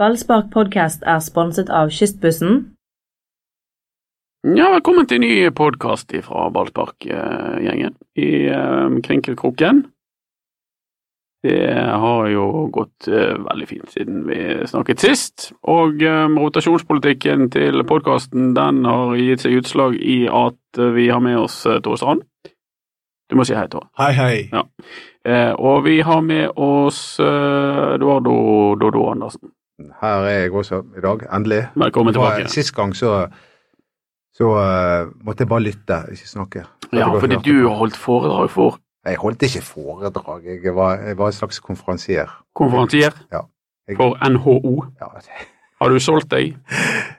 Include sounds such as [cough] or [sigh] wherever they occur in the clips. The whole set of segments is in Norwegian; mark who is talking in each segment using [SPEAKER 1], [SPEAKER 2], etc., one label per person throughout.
[SPEAKER 1] Ballspark podcast er sponset av Kystbussen.
[SPEAKER 2] Ja, velkommen til en ny podkast fra Ballspark-gjengen i eh, Krinkelkroken. Det har jo gått eh, veldig fint siden vi snakket sist, og eh, rotasjonspolitikken til podkasten den har gitt seg utslag i at eh, vi har med oss eh, Tore Strand. Du må si hei, Tore.
[SPEAKER 3] Hei, hei.
[SPEAKER 2] Ja. Eh, og vi har med oss eh, Eduardo Dodo Andersen.
[SPEAKER 3] Her er jeg også i dag, endelig.
[SPEAKER 2] Velkommen
[SPEAKER 3] For
[SPEAKER 2] tilbake.
[SPEAKER 3] Sist gang så, så eh, måtte jeg bare lytte, ikke snakke.
[SPEAKER 2] Ja,
[SPEAKER 3] Jeg bare
[SPEAKER 2] fordi
[SPEAKER 3] hørte
[SPEAKER 2] du
[SPEAKER 3] på.
[SPEAKER 2] har holdt foredrag for
[SPEAKER 3] Jeg holdt ikke foredrag, jeg var, jeg var en slags konferansier.
[SPEAKER 2] konferansier
[SPEAKER 3] Ja. Jeg-
[SPEAKER 2] for NHO.
[SPEAKER 3] Ja, [laughs]
[SPEAKER 2] Har du solgt deg?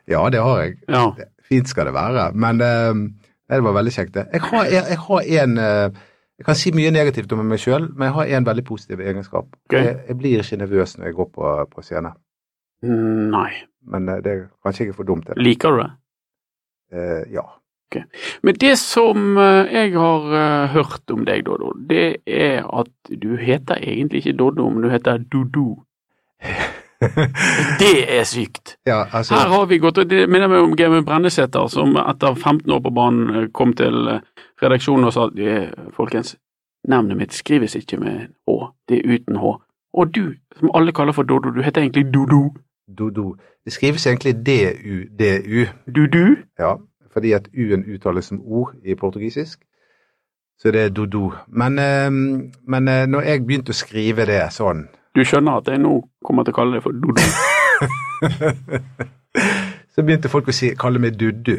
[SPEAKER 3] ja, det har jeg.
[SPEAKER 2] Ja.
[SPEAKER 3] Fint skal det være, men eh, nei, det var veldig kjekt det. Jeg har, jeg, jeg har en, eh, jeg kan si mye negativt om meg selv, men jeg har en veldig positiv egenskap.
[SPEAKER 2] Ok.
[SPEAKER 3] Jeg, jeg blir ikke nervøs når jeg går på, på scene,
[SPEAKER 2] Mm, Nei.
[SPEAKER 3] men eh, det er kanskje ikke for dumt. det.
[SPEAKER 2] Liker du det?
[SPEAKER 3] Eh, ja. [laughs]
[SPEAKER 2] Men det som eh, jeg har eh, hørt om deg, Doddo, det er at du heter egentlig ikke Doddo, men du heter Dodo. Det er sykt!
[SPEAKER 3] ja, altså.
[SPEAKER 2] Her har vi gått, og det minner meg om Gaute Brennesæter, som etter 15 år på banen eh, kom til eh, redaksjonen og sa at «Eh, folkens, navnet mitt skrives ikke med H, det er uten H. Og du, som alle kaller for Doddo, du heter egentlig Dodo.
[SPEAKER 3] Dodo. Det skrives egentlig DUDU,
[SPEAKER 2] Dudu?
[SPEAKER 3] ja, fordi at U-en uttales som ord i portugisisk. Så det er Dodo. Men, eh, men eh, når jeg begynte å skrive det sånn,
[SPEAKER 2] Du skjønner at jeg nå kommer til å kalle deg for Dodo. [laughs]
[SPEAKER 3] så begynte folk å si, kalle meg
[SPEAKER 2] Dudu.
[SPEAKER 3] Dudu.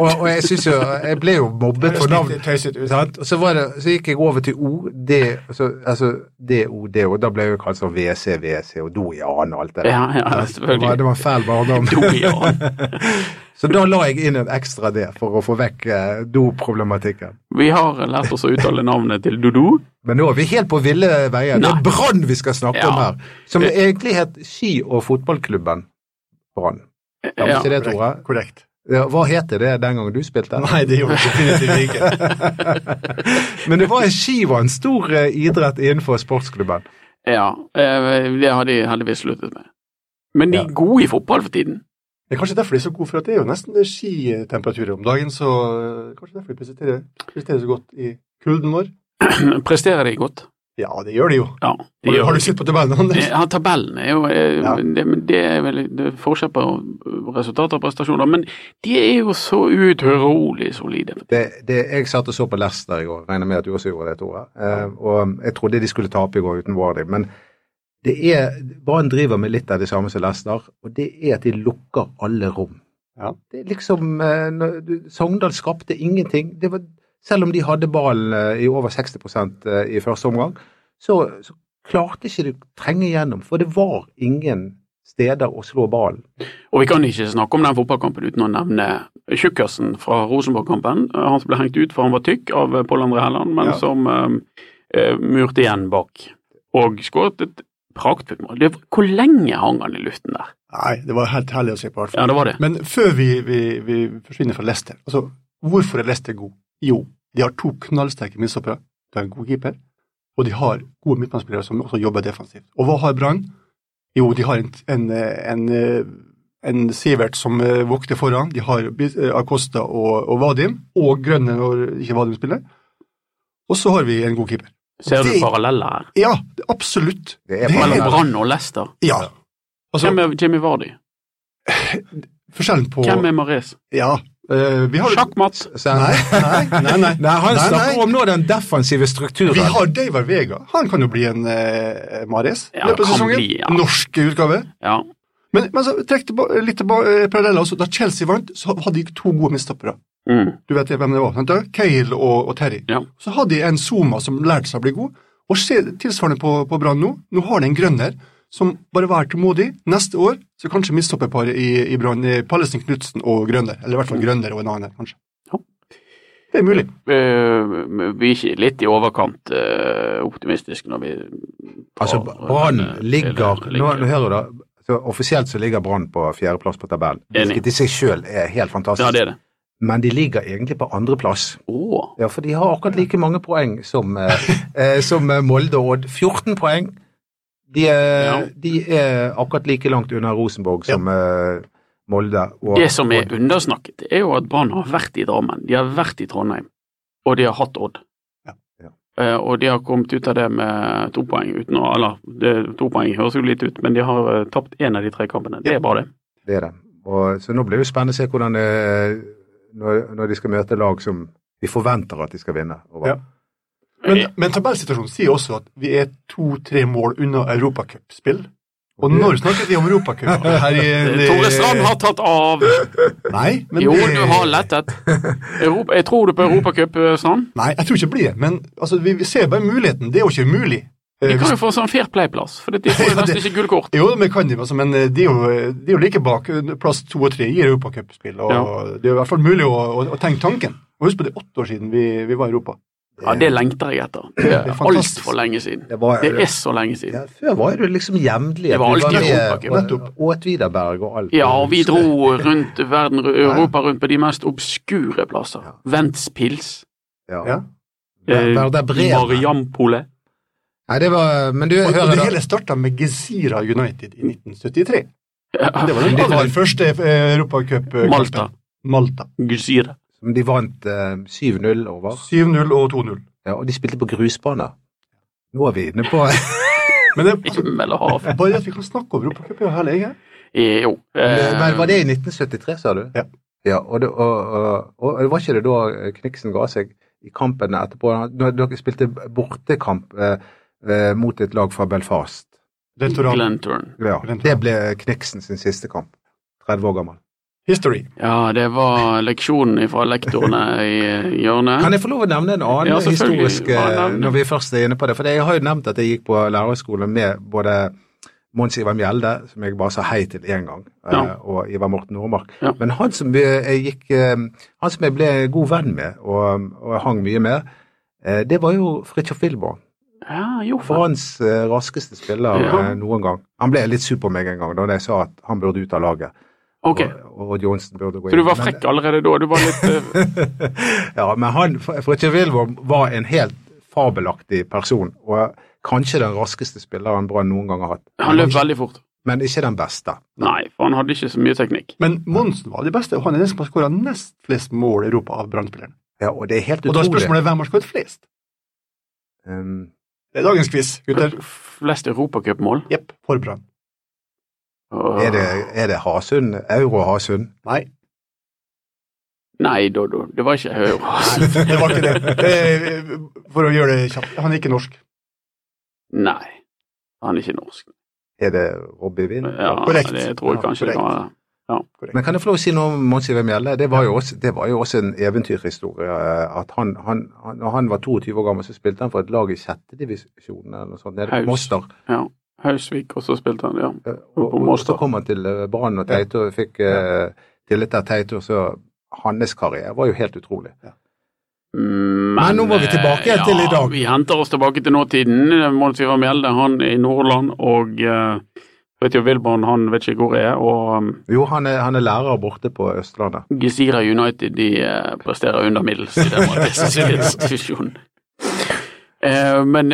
[SPEAKER 3] Og, og jeg synes jo, jeg ble jo mobbet for navn.
[SPEAKER 4] Tøyset ut.
[SPEAKER 3] Sant? Og så, var det, så gikk jeg over til O, D, altså, altså DOD, og da ble jeg jo kalt sånn WC, WC og Doian og alt det der.
[SPEAKER 2] Ja, ja,
[SPEAKER 3] Det var, det
[SPEAKER 2] [laughs] selvfølgelig.
[SPEAKER 3] var en fæl barndom.
[SPEAKER 2] Dojan.
[SPEAKER 3] [laughs] Så da la jeg inn en ekstra D for å få vekk eh, doproblematikken.
[SPEAKER 2] Vi har lært oss å uttale navnet til Dodo.
[SPEAKER 3] Men nå er vi helt på ville veier. Det
[SPEAKER 2] Nei.
[SPEAKER 3] er Brann vi skal snakke
[SPEAKER 2] Ja.
[SPEAKER 3] om her. Som egentlig het Ski- og fotballklubben Brann. Ja,
[SPEAKER 2] Ja.
[SPEAKER 3] ikke det, Tore?
[SPEAKER 4] Korrekt. [laughs]
[SPEAKER 3] Ja, Hva het det den gangen du spilte?
[SPEAKER 4] Nei, det gjorde det definitivt
[SPEAKER 2] [laughs]
[SPEAKER 4] ikke.
[SPEAKER 3] [laughs] Men det var ski var en stor eh, idrett innenfor sportsklubben.
[SPEAKER 2] ja eh, det har de heldigvis sluttet med. Men de er
[SPEAKER 3] Ja.
[SPEAKER 2] gode i fotball for tiden.
[SPEAKER 4] Det er kanskje derfor de er så gode, for at det er jo nesten det skitemperaturer om dagen, så øh, kanskje derfor de presterer, presterer så godt i kulden vår.
[SPEAKER 2] Presterer de godt?
[SPEAKER 4] Ja, det gjør de jo.
[SPEAKER 2] Ja. De
[SPEAKER 4] Har du-
[SPEAKER 2] gjør-
[SPEAKER 4] Har du sett på tabellen, Anders?
[SPEAKER 2] ja, tabellen er jo eh,
[SPEAKER 4] Ja.
[SPEAKER 2] det, men det er vel det er forskjell på resultater og prestasjoner, men de er jo så uutørelig solide.
[SPEAKER 3] Det, det, jeg satt og så på Leicester i går, regner med at du også gjorde det, Tore. Eh, og jeg trodde de skulle tape i går uten Wardy, men det er, Brann driver med litt av det samme som Leicester, og det er at de lukker alle rom.
[SPEAKER 4] Ja.
[SPEAKER 3] Det er liksom eh, når du- Sogndal skapte ingenting. Det var, selv om de hadde ballen eh, i over 60 eh, i første omgang, så, så klarte ikke de å trenge igjennom, for det var ingen steder å slå ballen.
[SPEAKER 2] Og vi kan ikke snakke om den fotballkampen uten å nevne Tjukkasen fra Rosenborg-kampen. Eh, Han som ble hengt ut for han var tykk av eh, Pål André Helland, men
[SPEAKER 4] Ja.
[SPEAKER 2] som eh, eh, murte igjen bak. Og skåret et praktfullt mål. Det, hvor lenge hang han i luften der?
[SPEAKER 4] Nei, det var helt herlig å se på. i hvert fall.
[SPEAKER 2] Ja, det var det.
[SPEAKER 4] Men før vi, vi, vi forsvinner fra Leicester, altså hvorfor er Leicester god? Jo, de har to knallsterke midtstoppere, de har en god keeper, og de har gode midtbanespillere som også jobber defensivt. Og hva har Brann? Jo, de har en, en, en, en Sivert som eh, vokter foran, de har Bis- eh, Acosta og, og Vadim, og Grønne når ikke Vadim spiller. Og så har vi en god keeper.
[SPEAKER 2] Ser du
[SPEAKER 4] det-
[SPEAKER 2] paralleller her?
[SPEAKER 4] Ja, absolutt.
[SPEAKER 3] Det er
[SPEAKER 4] Det er
[SPEAKER 2] Mellom
[SPEAKER 3] bare-
[SPEAKER 2] Brann og Leicester.
[SPEAKER 4] Ja. Altså,
[SPEAKER 2] Hvem er Jimmy Vardy?
[SPEAKER 4] forskjellen på
[SPEAKER 2] Hvem er Mares?
[SPEAKER 4] Ja. eh, vi har
[SPEAKER 2] Sjakkmatt!
[SPEAKER 3] Så-
[SPEAKER 4] Nei, nei, nei. nei.
[SPEAKER 3] Nei, han
[SPEAKER 4] Nei,
[SPEAKER 3] snakker
[SPEAKER 4] nei.
[SPEAKER 3] om nå den defensive strukturen.
[SPEAKER 4] Vi har Deivar Vega. Han kan jo bli en eh, Mares
[SPEAKER 2] Ja,
[SPEAKER 4] i løpet av
[SPEAKER 2] kan
[SPEAKER 4] sesongen.
[SPEAKER 2] bli, ja.
[SPEAKER 4] Norsk utgave.
[SPEAKER 2] Ja.
[SPEAKER 4] Men, men så trekk tilba litt tilba eh, paralleller også. Da Chelsea vant, så hadde de to gode midtstoppere.
[SPEAKER 2] Mm.
[SPEAKER 4] Du vet hvem det var? sant da? Cale og, og Terry.
[SPEAKER 2] Ja.
[SPEAKER 4] Så hadde de en Zuma som lærte seg å bli god. Og se tilsvarende på, på Brann nå. Nå har de en grønner som bare vær tålmodig. Neste år så kanskje midtstopperparet i, i Brann eh, Pallesen Knutsen og Grønner. Eller i hvert fall Grønner og en annen, kanskje.
[SPEAKER 2] Mm. Ja.
[SPEAKER 4] Det er mulig.
[SPEAKER 2] Eh, vi er ikke litt i overkant eh, optimistiske når vi
[SPEAKER 3] Altså,
[SPEAKER 2] tar-
[SPEAKER 3] Brann ligger
[SPEAKER 2] Eller-
[SPEAKER 3] Nå, nå hører du da, så Offisielt så ligger Brann på fjerdeplass på tabellen,
[SPEAKER 2] Enig.
[SPEAKER 3] hvilket i seg selv er helt
[SPEAKER 2] Ja,
[SPEAKER 3] fantastisk.
[SPEAKER 2] det er det.
[SPEAKER 3] Men de ligger egentlig på andreplass.
[SPEAKER 2] Åh.
[SPEAKER 3] Ja, for
[SPEAKER 2] [laughs]
[SPEAKER 3] de har akkurat like mange poeng som, eh, eh, som eh, Molde og Odd. 14 poeng. De er,
[SPEAKER 2] Ja.
[SPEAKER 3] de er akkurat like langt unna Rosenborg som eh, Molde. Og,
[SPEAKER 2] Det som er
[SPEAKER 3] Odd.
[SPEAKER 2] undersnakket, er jo at Brann har vært i Drammen, de har vært i Trondheim, og de har hatt Odd.
[SPEAKER 4] Ja.
[SPEAKER 3] Ja.
[SPEAKER 2] Eh, og de har kommet ut av det med to poeng uten å Eller, det, to poeng høres jo lite ut, men de har eh, tapt én av de tre kampene. Det
[SPEAKER 4] Ja.
[SPEAKER 2] er bare det.
[SPEAKER 3] Det er det. Og, så nå blir det jo spennende å se hvordan det, når, når de skal møte lag som vi forventer at de skal vinne. over.
[SPEAKER 4] Ja.
[SPEAKER 2] Mm.
[SPEAKER 4] Men, men tabellsituasjonen sier også at vi er to-tre mål unna europacupspill. Og når snakket vi om
[SPEAKER 2] [laughs]
[SPEAKER 4] europacup? Her i-
[SPEAKER 2] Eh, Tore Strand har tatt av!
[SPEAKER 4] Nei, men
[SPEAKER 2] Jo,
[SPEAKER 4] det-
[SPEAKER 2] du har lettet. Europa, jeg tror du på Europacup, eh, Strand.
[SPEAKER 4] Nei, jeg tror ikke det blir det. Men altså, vi, vi ser bare muligheten. Det er jo ikke umulig. Eh,
[SPEAKER 2] De
[SPEAKER 4] hvis-
[SPEAKER 2] kan jo få sånn fair play-plass, for de får
[SPEAKER 4] Ja,
[SPEAKER 2] jo nesten
[SPEAKER 4] det-
[SPEAKER 2] ikke gullkort.
[SPEAKER 4] Jo, men kan de, altså, men eh, de er jo, de er jo like bak eh, plass to og tre i europacupspill. Og
[SPEAKER 2] Ja.
[SPEAKER 4] det er i hvert fall mulig å, å, å tenke tanken. Og husk på det er åtte år siden vi, vi var i Europa.
[SPEAKER 2] Ja, Det lengter jeg etter. Det
[SPEAKER 4] Det
[SPEAKER 2] er
[SPEAKER 4] er fantastisk.
[SPEAKER 2] altfor lenge siden.
[SPEAKER 3] Det var,
[SPEAKER 2] Det er så lenge siden.
[SPEAKER 3] ja, før var det jo liksom hjemlig.
[SPEAKER 2] Det var
[SPEAKER 3] at vi
[SPEAKER 2] alltid
[SPEAKER 3] med
[SPEAKER 2] Europa,
[SPEAKER 3] og-
[SPEAKER 4] nettopp.
[SPEAKER 3] og Åt Widerberg og alt.
[SPEAKER 2] Ja, og vi dro rundt verden,
[SPEAKER 3] [laughs]
[SPEAKER 2] Europa rundt på de mest obskure plasser. Vents Pils,
[SPEAKER 4] Ja.
[SPEAKER 3] Ja.
[SPEAKER 2] eh,
[SPEAKER 3] Werder Bremen.
[SPEAKER 2] Mariampole.
[SPEAKER 3] Nei, det var Men du,
[SPEAKER 4] Og, og
[SPEAKER 3] hører
[SPEAKER 4] det
[SPEAKER 3] da.
[SPEAKER 4] hele starta med Gezira United i 1973.
[SPEAKER 2] [laughs] Ja,
[SPEAKER 4] Det var den aller første eh, europacup-kampen.
[SPEAKER 2] Malta.
[SPEAKER 4] Malta.
[SPEAKER 2] Gusira.
[SPEAKER 3] Som de vant eh, 7-0 over.
[SPEAKER 4] 7-0 og 2-0.
[SPEAKER 3] Ja, og de spilte på grusbane. Nå er vi inne på
[SPEAKER 4] Men det, altså,
[SPEAKER 2] Himmel og hav.
[SPEAKER 4] bare det at vi kan snakke om europacup, er jo herlig. ikke?
[SPEAKER 2] Eh, Jo. eh,
[SPEAKER 3] Men var det i 1973, sa du?
[SPEAKER 4] Ja.
[SPEAKER 3] ja og, det, og, og, og det var ikke det da eh, Kniksen ga seg i kampene etterpå? Når dere spilte bortekamp eh, eh, mot et lag fra Belfast.
[SPEAKER 4] Restaurant.
[SPEAKER 2] Glenturn.
[SPEAKER 3] Ja,
[SPEAKER 4] På den tiden.
[SPEAKER 3] det ble Kniksen sin siste kamp. 30 år gammel.
[SPEAKER 4] History.
[SPEAKER 2] Ja, det var leksjonen fra lektorene i
[SPEAKER 3] Kan
[SPEAKER 2] hjørnet.
[SPEAKER 3] jeg få lov å nevne en annen
[SPEAKER 2] Ja, selvfølgelig.
[SPEAKER 3] historisk
[SPEAKER 2] Ja,
[SPEAKER 3] eh,
[SPEAKER 2] nevn det.
[SPEAKER 3] når vi først er inne på det? For jeg har jo nevnt at jeg gikk på lærerskolen med både Mons Ivar Mjelde, som jeg bare sa hei til én gang, eh,
[SPEAKER 2] Ja.
[SPEAKER 3] og Ivar Morten Nordmark.
[SPEAKER 2] Ja.
[SPEAKER 3] Men han som, eh, jeg gikk, eh, han som jeg ble god venn med og, og hang mye med, eh, det var jo Fridtjof Wilborg.
[SPEAKER 2] Ja, jo, faen.
[SPEAKER 3] Branns eh, raskeste spiller
[SPEAKER 2] Ja.
[SPEAKER 3] eh, noen gang. Han ble litt sur på meg en gang da jeg sa at han burde ut av laget,
[SPEAKER 2] Ok,
[SPEAKER 3] og, og Odd Johnsen burde gå
[SPEAKER 2] så
[SPEAKER 3] inn.
[SPEAKER 2] du var
[SPEAKER 3] Men-
[SPEAKER 2] frekk allerede da? Du var litt
[SPEAKER 3] [laughs]
[SPEAKER 2] eh,
[SPEAKER 3] ja, men han, Fritje Wilvorm var en helt fabelaktig person, og kanskje den raskeste spilleren Brann noen gang har hatt.
[SPEAKER 2] Han løp veldig fort.
[SPEAKER 3] Men ikke den beste.
[SPEAKER 2] Nei, for han hadde ikke så mye teknikk.
[SPEAKER 4] Men Monsen var det beste, og han er den som har skåra nest flest mål i Europa av Brann-spillerne.
[SPEAKER 3] Ja, og det er helt
[SPEAKER 4] Og da er
[SPEAKER 3] utrolig.
[SPEAKER 4] spørsmålet hvem har skåret flest?
[SPEAKER 3] Um,
[SPEAKER 4] Det er dagens quiz, gutter.
[SPEAKER 2] Flest europacupmål.
[SPEAKER 4] Jepp, for Brann.
[SPEAKER 3] er, det, er det Hasund? Euro Hasund?
[SPEAKER 4] Nei,
[SPEAKER 2] Nei, Dodo, det var ikke
[SPEAKER 4] nei,
[SPEAKER 2] Høyre. altså.
[SPEAKER 4] det var ikke det. Eh, For å gjøre det kjapt, han er ikke norsk.
[SPEAKER 2] Nei, han er ikke norsk.
[SPEAKER 3] Er det Robbie Wind?
[SPEAKER 2] Ja,
[SPEAKER 4] Korrekt.
[SPEAKER 2] Det tror jeg
[SPEAKER 4] Ja,
[SPEAKER 2] kanskje det kan være.
[SPEAKER 3] Men kan jeg få lov å si noe om Mons Iver Mjelde? Det var jo også, det var jo også en eventyrhistorie. eh, at han, han, han, når han var 22 år gammel, så spilte han for et lag i sjettedivisjonen eller noe sånt, nede
[SPEAKER 2] Haus.
[SPEAKER 3] på Moster.
[SPEAKER 2] Hausvik, og så spilte han, ja.
[SPEAKER 3] Ja,
[SPEAKER 2] Og
[SPEAKER 3] Og,
[SPEAKER 2] på
[SPEAKER 3] og
[SPEAKER 2] Måstad.
[SPEAKER 3] så kom han til eh, Brann og Teitur og fikk eh, tillit av Teitur, så hans karriere var jo helt utrolig.
[SPEAKER 2] Mm, Men,
[SPEAKER 3] Men nå må vi tilbake
[SPEAKER 2] eh,
[SPEAKER 3] til i dag.
[SPEAKER 2] Vi henter oss tilbake til nåtiden. Mons Ivar Mjelde, han er i Nordland, og eh, vet jo Wilborn, han vet ikke hvor jeg er, og um,
[SPEAKER 3] Jo, han er, han er lærer borte på Østlandet.
[SPEAKER 2] Gezira United de eh, presterer under middels i
[SPEAKER 3] [laughs]
[SPEAKER 2] den marxistiske institusjonen. Eh, Men,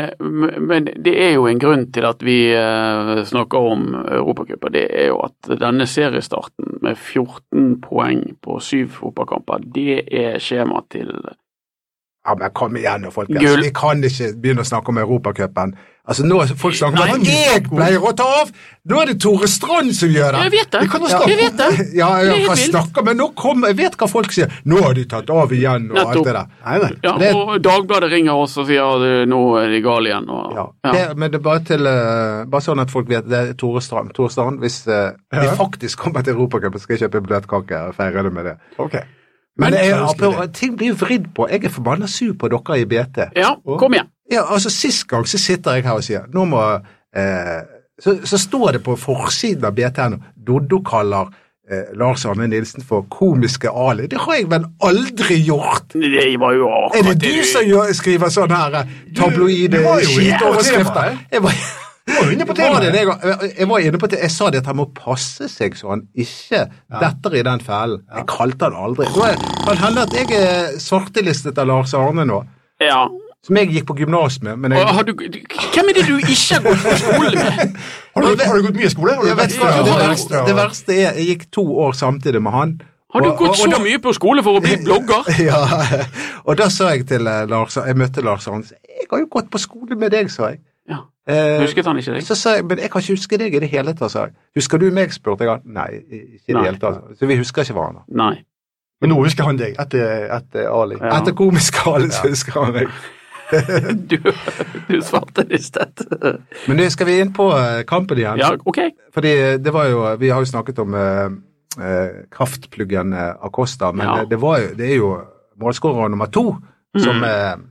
[SPEAKER 2] men det er jo en grunn til at vi eh, snakker om Europacupen. Det er jo at denne seriestarten med 14 poeng på syv fotballkamper, det er skjema til
[SPEAKER 3] Ja, men kom igjen nå, folkens.
[SPEAKER 2] Gull.
[SPEAKER 3] Vi kan ikke begynne å snakke om Europacupen. Altså, nå er folk snakker om
[SPEAKER 2] Nei,
[SPEAKER 3] at jeg pleier å ta av! Nå er det Tore Strand som gjør det!
[SPEAKER 2] Jeg vet det!
[SPEAKER 4] Vi kan jo snakke
[SPEAKER 2] Jeg
[SPEAKER 4] om-
[SPEAKER 2] vet det!
[SPEAKER 3] [laughs]
[SPEAKER 2] Det
[SPEAKER 3] Ja,
[SPEAKER 2] er
[SPEAKER 3] jeg
[SPEAKER 2] helt
[SPEAKER 3] kan
[SPEAKER 2] vilt.
[SPEAKER 3] snakke, men nå kommer Jeg vet hva folk sier. Nå har de tatt av igjen og
[SPEAKER 2] Nettopp.
[SPEAKER 3] alt det der.
[SPEAKER 4] Nei, nei.
[SPEAKER 2] Ja,
[SPEAKER 3] Det-
[SPEAKER 2] og Dagbladet ringer oss og sier at eh, nå er de gale igjen. Og,
[SPEAKER 3] Ja.
[SPEAKER 2] ja.
[SPEAKER 3] Det, men det er bare, til, eh, bare sånn at folk vet det er Tore Strand. Tore Strand hvis eh, de
[SPEAKER 4] Ja.
[SPEAKER 3] faktisk kommer til Europacupen, skal jeg kjøpe bløtkake og feire det med det.
[SPEAKER 4] Ok.
[SPEAKER 3] Men jeg,
[SPEAKER 4] Hva ønsker
[SPEAKER 3] apropos- ting blir jo vridd på. Jeg er forbanna sur på dere i BT.
[SPEAKER 2] ja, kom igjen.
[SPEAKER 3] Ja, altså Sist gang så sitter jeg her og sier nå må, eh, så, så står det på forsiden av BT her nå Doddo kaller eh, Lars Arne Nilsen for komiske Ali. Det har jeg vel aldri gjort!
[SPEAKER 2] Det var jo
[SPEAKER 3] Er
[SPEAKER 2] akkurat
[SPEAKER 3] det du som gjør, skriver sånne her eh, tabloide
[SPEAKER 4] du var jo inne på
[SPEAKER 3] skitoverskrifter?
[SPEAKER 4] temaet.
[SPEAKER 3] Jeg var, [laughs]
[SPEAKER 4] var jo inne
[SPEAKER 3] Var
[SPEAKER 4] på
[SPEAKER 3] det
[SPEAKER 4] temaet.
[SPEAKER 3] det jeg, var- jeg var inne på det. Jeg sa det at han må passe seg så han ikke detter i den fellen. Jeg kalte han aldri. Nå er- Kan hende at jeg er svartelistet av Lars Arne nå.
[SPEAKER 2] Ja,
[SPEAKER 3] Som jeg gikk på gymnas med. Men jeg,
[SPEAKER 2] Og Har du, du- hvem er det du ikke har gått på skole med?
[SPEAKER 4] Har du, har du gått mye i skole? Har du
[SPEAKER 3] jeg vet,
[SPEAKER 4] vært
[SPEAKER 3] ikke,
[SPEAKER 4] ekstra-
[SPEAKER 3] det,
[SPEAKER 4] vært
[SPEAKER 3] verste,
[SPEAKER 4] ekstra-
[SPEAKER 3] det verste er jeg gikk to år samtidig med han.
[SPEAKER 2] Har du
[SPEAKER 3] Og-
[SPEAKER 2] gått
[SPEAKER 3] og- og
[SPEAKER 2] så
[SPEAKER 3] da-
[SPEAKER 2] mye på skole for å bli blogger?
[SPEAKER 3] [laughs] Ja, og da sa jeg til eh, Lars, jeg møtte Lars og han sa jeg har jo gått på skole med deg, sa jeg.
[SPEAKER 2] Ja.
[SPEAKER 3] Eh,
[SPEAKER 2] Husket han ikke deg?
[SPEAKER 3] så sa jeg, men jeg kan ikke huske deg i det hele tatt, sa jeg. Husker du meg, spurte jeg han. Nei, ikke i det
[SPEAKER 2] Nei.
[SPEAKER 3] hele tatt. Så vi husker ikke hverandre.
[SPEAKER 2] Nei.
[SPEAKER 4] Men nå husker han deg, etter, etter Ali.
[SPEAKER 2] Ja.
[SPEAKER 3] Etter komiskalen så husker han meg.
[SPEAKER 2] Du, du svarte det i sted.
[SPEAKER 3] Men nå skal vi inn på eh, kampen igjen.
[SPEAKER 2] Ja, ok.
[SPEAKER 3] Fordi eh, det var jo, vi har jo snakket om eh, eh, kraftpluggen eh, Acosta, men
[SPEAKER 2] Ja.
[SPEAKER 3] eh, det, var jo, det er jo målskårer nummer to som eh,
[SPEAKER 2] Mm.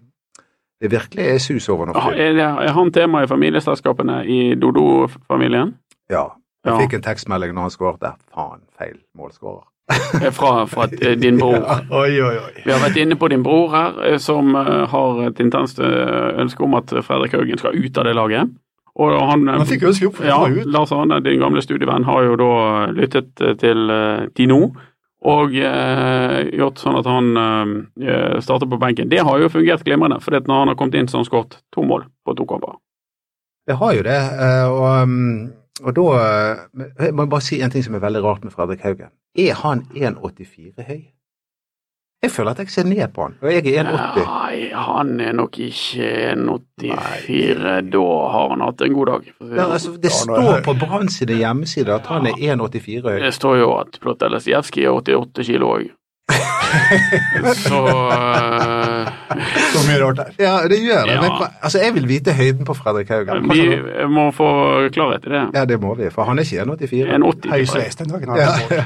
[SPEAKER 3] det virkelig er sus over nå.
[SPEAKER 2] Ah,
[SPEAKER 3] for
[SPEAKER 2] Er,
[SPEAKER 3] tiden.
[SPEAKER 2] det, er han tema i familieselskapene i Dodo-familien?
[SPEAKER 3] Ja. Jeg
[SPEAKER 2] Ja.
[SPEAKER 3] fikk en tekstmelding når han skåret der. Faen, feil målskårer.
[SPEAKER 2] Eh, Fra, fra eh, din bror.
[SPEAKER 4] Oi, oi, oi.
[SPEAKER 2] Vi har vært inne på din bror her, eh, som eh, har et intenst eh, ønske om at Fredrik Haugen skal ut av det laget. Og han, eh,
[SPEAKER 4] Han fikk ønske opp, for han
[SPEAKER 2] ja,
[SPEAKER 4] var jo ut.
[SPEAKER 2] Lars Arne, din gamle studievenn, har jo da eh, lyttet eh, til eh, Tino og eh, gjort sånn at han eh, starter på benken. Det har jo fungert glimrende, for når han har kommet inn, så har han skåret to mål på to kamper.
[SPEAKER 3] Det har jo det. eh, Og, um, og da eh, men Jeg må bare si en ting som er veldig rart med Fredrik Haugen. Er han 1,84 høy? Jeg føler at jeg ser ned på han, og jeg er 1,80.
[SPEAKER 2] Nei, han er nok ikke 84. Da har han hatt en god dag. for å si
[SPEAKER 3] Det,
[SPEAKER 2] det sånn.
[SPEAKER 3] altså, det
[SPEAKER 4] Ja, nå
[SPEAKER 3] står
[SPEAKER 4] er jeg-
[SPEAKER 3] på Brann sine hjemmesider at han er 1,84 høy.
[SPEAKER 2] Det står jo at Plotelesjevskij er 88 kilo òg. Så eh,
[SPEAKER 4] Så mye rart der.
[SPEAKER 3] Ja, det gjør det.
[SPEAKER 2] Ja.
[SPEAKER 3] Men hva- altså, jeg vil vite høyden på Fredrik Haugen.
[SPEAKER 2] vi
[SPEAKER 3] Hva-
[SPEAKER 2] må få klarhet i det.
[SPEAKER 3] Ja, det må vi, for han er ikke 1,84.
[SPEAKER 2] 1,80.
[SPEAKER 4] Høyesteis den dagen.
[SPEAKER 3] Ja.
[SPEAKER 4] Han ja.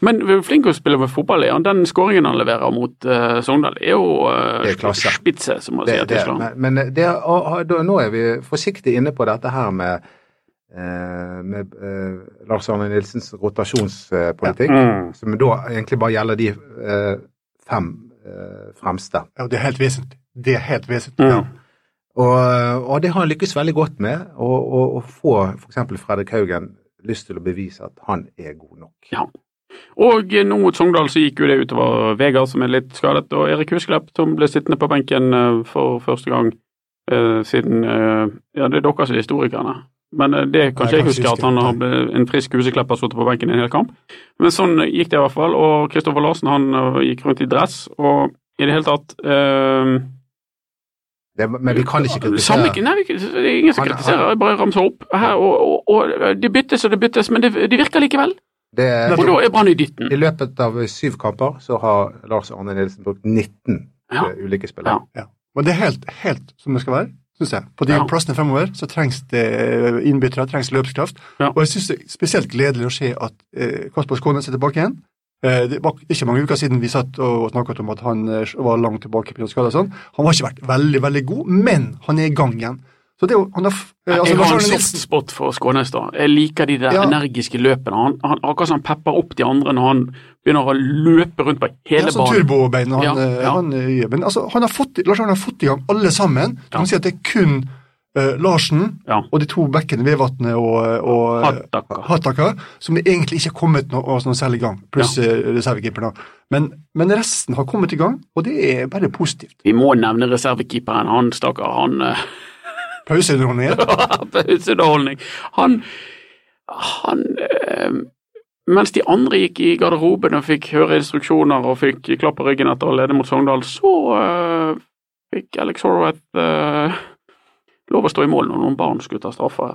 [SPEAKER 2] Men vi er flink til å spille med fotball. er han. Den skåringen han leverer mot eh, Sogndal, er jo eh,
[SPEAKER 3] Det er klasse.
[SPEAKER 2] spitse, som man
[SPEAKER 3] Det,
[SPEAKER 2] sier i
[SPEAKER 3] det,
[SPEAKER 2] Tyskland.
[SPEAKER 3] men men det, og, og, da, nå er vi forsiktig inne på dette her med, eh, med eh, Lars Arne Nilsens rotasjonspolitikk.
[SPEAKER 2] Mm.
[SPEAKER 3] som da egentlig bare gjelder de eh, fem eh, fremste.
[SPEAKER 4] Ja, det er helt vesentlig. Det er helt vesentlig.
[SPEAKER 2] Mm.
[SPEAKER 3] Og, og det har han lykkes veldig godt med, å- å å få f.eks. Fredrik Haugen lyst til å bevise at han er god nok.
[SPEAKER 2] Ja. Og eh, nå mot Sogndal så gikk jo det utover Vegard, som er litt skadet, og Erik Husklepp, som ble sittende på benken eh, for første gang eh, siden eh, Ja, det er dere som er historikerne. Men eh, det kan
[SPEAKER 4] Nei,
[SPEAKER 2] ikke jeg
[SPEAKER 4] kanskje
[SPEAKER 2] huske, at
[SPEAKER 4] husker
[SPEAKER 2] han
[SPEAKER 4] jeg.
[SPEAKER 2] har ble- en frisk Huseklepp har sittet på benken i en hel kamp. Men sånn gikk det i hvert fall. Og Kristoffer Larsen han eh, gikk rundt i dress, og i det hele tatt eh,
[SPEAKER 3] Det, men vi kan ikke
[SPEAKER 2] Samme,
[SPEAKER 3] kritisere.
[SPEAKER 2] nei, det er ingen som
[SPEAKER 3] Han-
[SPEAKER 2] kritiserer, jeg bare ramser opp. Her, og, og, og det byttes og det byttes, men det, det virker likevel.
[SPEAKER 3] Det,
[SPEAKER 2] Og da er Brann i dytten.
[SPEAKER 3] I løpet av syv kamper så har Lars Arne Nilsen brukt 19
[SPEAKER 2] Ja.
[SPEAKER 3] eh, ulike spillere.
[SPEAKER 4] Men det er helt, helt som det skal være, syns jeg. På de
[SPEAKER 2] Ja.
[SPEAKER 4] plassene fremover så trengs det eh, innbyttere, trengs løpskraft.
[SPEAKER 2] Ja.
[SPEAKER 4] Og jeg syns det er spesielt gledelig å se at eh, Kasper Skånes er tilbake igjen. Eh, det var ikke mange uker siden vi satt og snakket om at han eh, var langt tilbake på skade og sånn. Han har ikke vært veldig, veldig god, men han er i gang igjen. Så det er jo, han har, f- eh, altså,
[SPEAKER 2] jeg har en
[SPEAKER 4] Lars Arne
[SPEAKER 2] soft
[SPEAKER 4] Nilsen-
[SPEAKER 2] spot for Skånes. da. Jeg liker de der
[SPEAKER 4] Ja.
[SPEAKER 2] energiske løpene. Han, han, akkurat som han pepper opp de andre når han begynner å løpe rundt på hele
[SPEAKER 4] Ja, sånn
[SPEAKER 2] banen.
[SPEAKER 4] turbobein han,
[SPEAKER 2] Ja,
[SPEAKER 4] eh,
[SPEAKER 2] ja.
[SPEAKER 4] han eh, gjør. Men altså, han har fått, Lars Arne har fått i gang alle sammen. Du
[SPEAKER 2] Ja.
[SPEAKER 4] kan si at det er kun eh, Larsen
[SPEAKER 2] Ja.
[SPEAKER 4] og de to bekkene, Vevatnet og, og eh,
[SPEAKER 2] Hattaka.
[SPEAKER 4] Hattaka, som det egentlig ikke har kommet noe, altså noe særlig i gang, pluss ja. reservekeeperen. da. Men, men resten har kommet i gang, og det er bare positivt.
[SPEAKER 2] Vi må nevne reservekeeperen. Han, stakkar, han [laughs] eh,
[SPEAKER 4] Pauseunderholdningen.
[SPEAKER 2] Pauseunderholdning. Han, han eh, Mens de andre gikk i garderoben og fikk høre instruksjoner og fikk klapp på ryggen etter å lede mot Sogndal, så eh, fikk Alex Horwath eh, lov å stå i mål når noen barn skulle ta straffe. [laughs]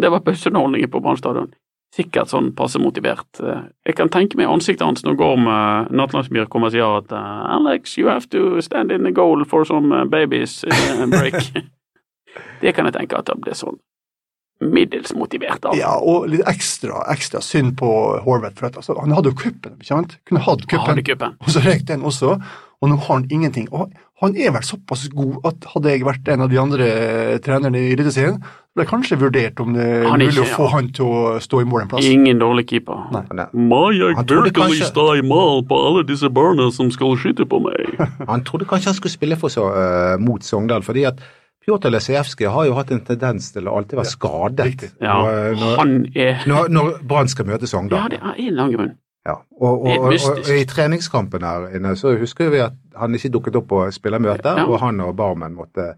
[SPEAKER 2] Det var pauseunderholdningen på Brann stadion. Sikkert sånn passe motivert. Eh, Jeg kan tenke meg ansiktet hans når Gorm eh, Natlandsmyr kommer og sier at eh, Alex, you have to stand in the goal for some eh, babies eh, break. Det kan jeg tenke at han ble sånn middels motivert av.
[SPEAKER 4] Ja, og litt ekstra, ekstra synd på Horvath, for at, altså, han hadde jo kuppen, ikke sant? Kunne hatt
[SPEAKER 2] Han
[SPEAKER 4] kuppen.
[SPEAKER 2] hadde kuppen.
[SPEAKER 4] Og så røyk den også, og nå har han ingenting. Og han er vel såpass god at hadde jeg vært en av de andre eh, trenerne i Eliteserien, ble jeg kanskje vurdert om det er
[SPEAKER 2] Han er
[SPEAKER 4] mulig
[SPEAKER 2] ikke-
[SPEAKER 4] å få han til å stå i mål en plass.
[SPEAKER 2] Ingen dårlig keeper.
[SPEAKER 4] Nei.
[SPEAKER 3] Han, er-
[SPEAKER 2] Må jeg
[SPEAKER 3] Han trodde virkelig kanskje-
[SPEAKER 2] stå i mål på alle disse barna som skal skyte på
[SPEAKER 3] [laughs]
[SPEAKER 2] meg?
[SPEAKER 3] han trodde kanskje han skulle spille for så, eh, mot Sogndal, fordi at Pjotr Lesejevskij har jo hatt en tendens til å alltid være skadet
[SPEAKER 4] Riktig.
[SPEAKER 2] Ja,
[SPEAKER 3] når, når,
[SPEAKER 2] han er
[SPEAKER 3] når, når Brann skal møte
[SPEAKER 2] Ja,
[SPEAKER 3] Sogndal.
[SPEAKER 2] det er en lang grunn.
[SPEAKER 3] Ja. Og, og,
[SPEAKER 2] Det er
[SPEAKER 3] og, og,
[SPEAKER 2] mystisk.
[SPEAKER 3] og i treningskampen her inne så husker vi at han ikke dukket opp på spillermøte,
[SPEAKER 2] Ja.
[SPEAKER 3] og han og Barmen måtte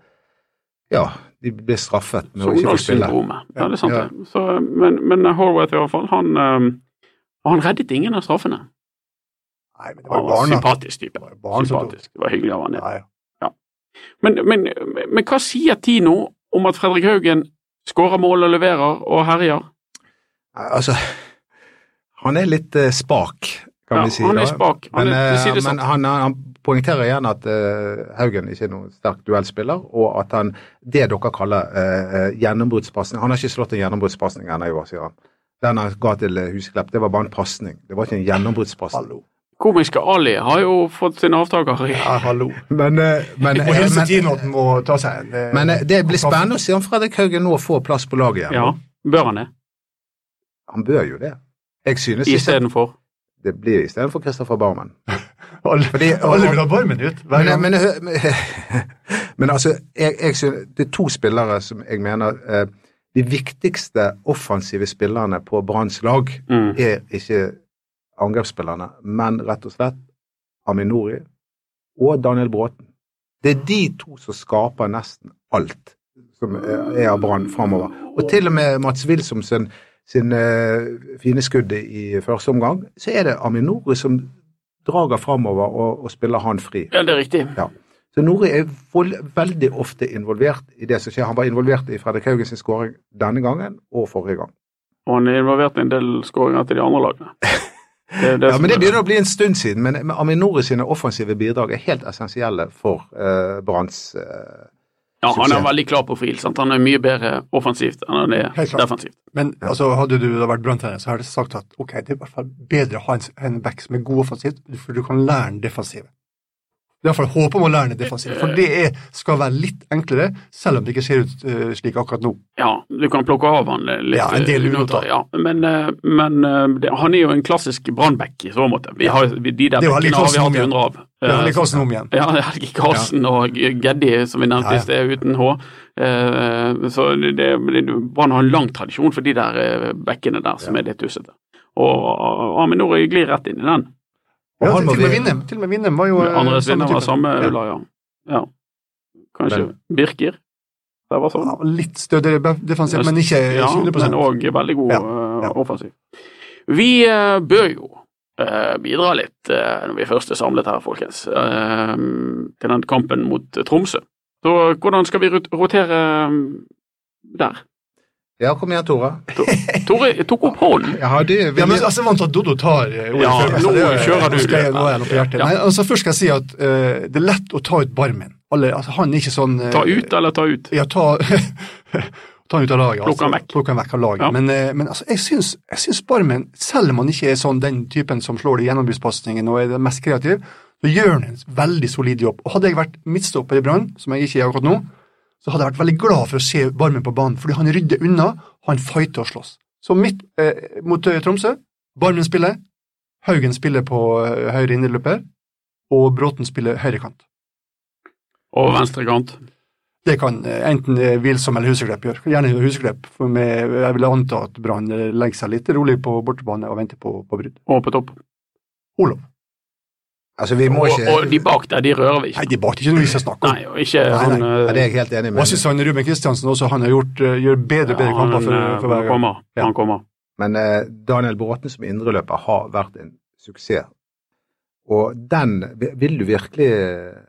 [SPEAKER 3] Ja, de ble straffet med å ikke få spille.
[SPEAKER 2] Sondalssyndromet. Ja, det er sant
[SPEAKER 3] Ja.
[SPEAKER 2] det. Så, men, men eh, Horwath i hvert fall, han, øhm, han reddet ingen av straffene.
[SPEAKER 4] Nei, men det var
[SPEAKER 2] Han
[SPEAKER 4] jo
[SPEAKER 2] var en
[SPEAKER 4] barna.
[SPEAKER 2] sympatisk type.
[SPEAKER 4] Det var jo barn som tok-
[SPEAKER 2] Sympatisk. Det var hyggelig av han. det.
[SPEAKER 4] Ja, ja.
[SPEAKER 2] Men, men, men hva sier Tino om at Fredrik Haugen skårer mål og leverer og herjer?
[SPEAKER 3] Nei, Altså, han er litt eh, spak, kan
[SPEAKER 2] Ja,
[SPEAKER 3] vi si.
[SPEAKER 2] han
[SPEAKER 3] da.
[SPEAKER 2] er spak. Han
[SPEAKER 3] Men,
[SPEAKER 2] er,
[SPEAKER 3] eh,
[SPEAKER 2] for å si det sånn.
[SPEAKER 3] men
[SPEAKER 2] sant.
[SPEAKER 3] han, han poengterer igjen at eh, Haugen ikke er noen sterk duellspiller, og at han det dere kaller uh, gjennombruddspasning Han har ikke slått en gjennombruddspasning ennå i år, sier han. Den han ga til eh, Huseklepp, det var bare en pasning. Det var ikke en gjennombruddspasning.
[SPEAKER 4] Hallo.
[SPEAKER 2] Komiske Ali har jo fått sin avtaker i
[SPEAKER 4] Ja, hallo.
[SPEAKER 3] Men, eh, men,
[SPEAKER 4] Vi må hilse
[SPEAKER 3] men,
[SPEAKER 4] Tino at han må ta seg en eh,
[SPEAKER 3] men eh, det blir spennende å se om Fredrik Haugen nå får plass på laget igjen.
[SPEAKER 2] Ja, bør han det?
[SPEAKER 3] Han bør jo det. Jeg synes ikke
[SPEAKER 2] Istedenfor?
[SPEAKER 3] det blir istedenfor Christopher Barmen.
[SPEAKER 4] Alle,
[SPEAKER 3] Fordi-
[SPEAKER 4] alle vil ha barmen ut. Hver
[SPEAKER 3] Men,
[SPEAKER 4] gang.
[SPEAKER 3] men, men, [laughs] men altså, jeg, jeg synes, det er to spillere som jeg mener eh, De viktigste offensive spillerne på Branns lag
[SPEAKER 2] Mm.
[SPEAKER 3] er ikke angrepsspillerne, men rett og slett Aminori og Daniel Bråten. Det er de to som skaper nesten alt som er er av Brann framover. Og til og med Mats Wilsomsen sin eh, fine skudd i første omgang, så er det Aminori som drager framover og, og spiller han fri.
[SPEAKER 2] Ja, det er riktig.
[SPEAKER 3] Så Nori er vold, veldig ofte involvert i det som skjer. Han var involvert i Fredrik Haugens skåring denne gangen og forrige gang.
[SPEAKER 2] Og han er involvert i en del skåringer til de andre
[SPEAKER 4] [laughs]
[SPEAKER 2] lagene. Det er det
[SPEAKER 3] Ja,
[SPEAKER 2] som
[SPEAKER 3] men Det
[SPEAKER 2] er-
[SPEAKER 3] begynner å bli en stund siden, men, men Aminori sine offensive bidrag er helt essensielle for eh, Branns eh,
[SPEAKER 2] ja, han er
[SPEAKER 3] suksess.
[SPEAKER 2] veldig klar profil. sant? Han er mye bedre offensivt enn han er
[SPEAKER 4] Helt klart.
[SPEAKER 2] defensivt.
[SPEAKER 4] Men altså, hadde du da vært branntrener, så hadde jeg sagt at ok, det er i hvert fall bedre å ha en, en back som er god offensivt, for du kan lære den defensive. I hvert fall håpe om å lære den defensive, for det er, skal være litt enklere, selv om det ikke ser ut eh, slik akkurat nå.
[SPEAKER 2] Ja, du kan plukke av han litt.
[SPEAKER 4] Ja, en del
[SPEAKER 2] eh,
[SPEAKER 4] unoter.
[SPEAKER 2] Ja, men eh, men eh, det, han er jo en klassisk brannback i så måte. Vi har, vi, de der
[SPEAKER 4] Det er jo Helge
[SPEAKER 2] bekkene har vi
[SPEAKER 4] Karlsen om
[SPEAKER 2] hatt
[SPEAKER 4] igjen.
[SPEAKER 2] hundre av.
[SPEAKER 4] Det
[SPEAKER 2] Eh,
[SPEAKER 4] er Karlsen om igjen.
[SPEAKER 2] Ja, det er Helge Karlsen og Geddi, som vi nevnte
[SPEAKER 4] Ja, ja.
[SPEAKER 2] i sted, uten H. Eh, Så det, det- Brann har en lang tradisjon for de der eh, bekkene der som er litt tussete. Og Aminori glir rett inn i den.
[SPEAKER 3] Og
[SPEAKER 4] Ja,
[SPEAKER 3] han
[SPEAKER 4] til,
[SPEAKER 3] må
[SPEAKER 4] til og med
[SPEAKER 3] vi-
[SPEAKER 4] Vindem, til og med Vindem var jo eh,
[SPEAKER 2] Andres
[SPEAKER 4] samme
[SPEAKER 2] vinner var
[SPEAKER 4] type.
[SPEAKER 2] samme
[SPEAKER 4] Ja.
[SPEAKER 2] Ulla, ja. ja. Kanskje Birker? Det var sånn.
[SPEAKER 4] Ja, litt stødigere be- defensivt, men ikke
[SPEAKER 2] Ja,
[SPEAKER 4] 20
[SPEAKER 2] men òg veldig god
[SPEAKER 4] Eh, Ja,
[SPEAKER 2] eh,
[SPEAKER 4] ja.
[SPEAKER 2] offensiv. Vi eh, bør jo eh, bidra litt, eh, når vi først er samlet her, folkens, eh, til den kampen mot eh, Tromsø. Så hvordan skal vi rot- rotere eh, der?
[SPEAKER 3] Ja, kom igjen, Tore.
[SPEAKER 2] Tore tok opp hånden.
[SPEAKER 3] Jeg hadde
[SPEAKER 4] Ja, men altså, jeg er vant til at Dodo tar eh, ordet
[SPEAKER 2] Ja,
[SPEAKER 4] før meg, så
[SPEAKER 2] nå
[SPEAKER 4] det-
[SPEAKER 2] kjører du
[SPEAKER 4] Nå skal jeg, nå er jeg noe på
[SPEAKER 2] det.
[SPEAKER 4] hjertet.
[SPEAKER 2] Ja.
[SPEAKER 4] Nei, altså, først skal jeg si at eh, det er lett å ta ut barmen. Alle, altså, han er ikke sånn eh,
[SPEAKER 2] Ta ut eller ta ut?
[SPEAKER 4] Ja, ta, [laughs] ta han ut av laget.
[SPEAKER 2] Plukke han vekk.
[SPEAKER 4] Plukke han vekk av laget.
[SPEAKER 2] Ja.
[SPEAKER 4] Men, eh, men altså, jeg syns, jeg syns Barmen, selv om han ikke er sånn den typen som slår de gjennombruddspasningene og er den mest kreativ, så gjør han en veldig solid jobb. Og hadde jeg vært midtstopper i Brann, som jeg ikke er akkurat nå, så hadde jeg vært veldig glad for å se Barmen på banen, fordi han rydder unna, han fighter og slåss. Så midt eh, mot eh, Tromsø, Barmen spiller, Haugen spiller på eh, høyre indreløper, og Bråten spiller høyrekant.
[SPEAKER 2] Og venstre kant.
[SPEAKER 4] Det kan eh, enten eh, Wilsom eller Huseklepp gjøre. Gjerne Huseklepp, for med, jeg vil anta at Brann eh, legger seg litt rolig på bortebane og venter på, på brudd.
[SPEAKER 2] Og på topp.
[SPEAKER 4] Olav.
[SPEAKER 3] altså, vi må
[SPEAKER 2] Og,
[SPEAKER 3] ikke
[SPEAKER 2] og de bak der, de rører vi ikke.
[SPEAKER 4] Nei, det er ikke noe vi skal snakke om.
[SPEAKER 2] Nei, og ikke
[SPEAKER 4] Nei,
[SPEAKER 2] han
[SPEAKER 3] ja,
[SPEAKER 2] eh,
[SPEAKER 3] Det er jeg helt enig
[SPEAKER 4] Og
[SPEAKER 3] med.
[SPEAKER 4] jeg synes han Ruben Kristiansen også, han har gjort, eh, gjør bedre og bedre
[SPEAKER 2] han,
[SPEAKER 4] kamper for,
[SPEAKER 2] eh,
[SPEAKER 4] for hver gang.
[SPEAKER 2] kommer.
[SPEAKER 4] Ja.
[SPEAKER 2] Han kommer.
[SPEAKER 3] Men eh, Daniel Bråten som indreløper har vært en suksess. Og den vil du virkelig eh,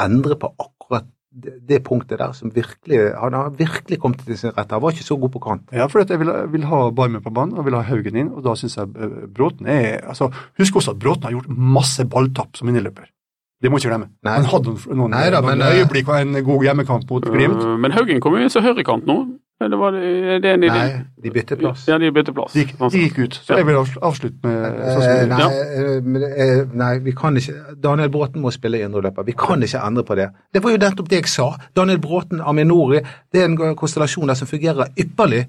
[SPEAKER 3] endre på akkurat det, det punktet der som virkelig Han har virkelig kommet til sin rett. Han var ikke så god på kant.
[SPEAKER 4] Ja, for at jeg vil, vil ha Barmen på banen, og vil ha Haugen inn, og da synes jeg eh, Bråten er altså, Husk også at Bråten har gjort masse balltapp som innløper. Det må ikke glemme.
[SPEAKER 3] Nei.
[SPEAKER 4] Han hadde noen, noen,
[SPEAKER 3] Nei da,
[SPEAKER 4] noen
[SPEAKER 3] men, eh,
[SPEAKER 4] øyeblikk og en god hjemmekamp mot Glimt.
[SPEAKER 2] Eh, Men Haugen kommer jo inn som høyrekant nå. Det var, er det en idé?
[SPEAKER 3] Nei, de bytter plass.
[SPEAKER 2] Ja, de bytter plass.
[SPEAKER 4] De, gikk- de gikk ut. Så jeg vil avsl- avslutte med sånn som
[SPEAKER 3] Eh,
[SPEAKER 4] jeg gjorde.
[SPEAKER 3] nei,
[SPEAKER 2] Ja.
[SPEAKER 3] eh, men, eh, nei, vi kan ikke Daniel Bråten må spille indreløper. Vi kan ikke endre på det. Det var jo nettopp det jeg sa. Daniel Bråten, Aminori, det er en konstellasjon der som fungerer ypperlig.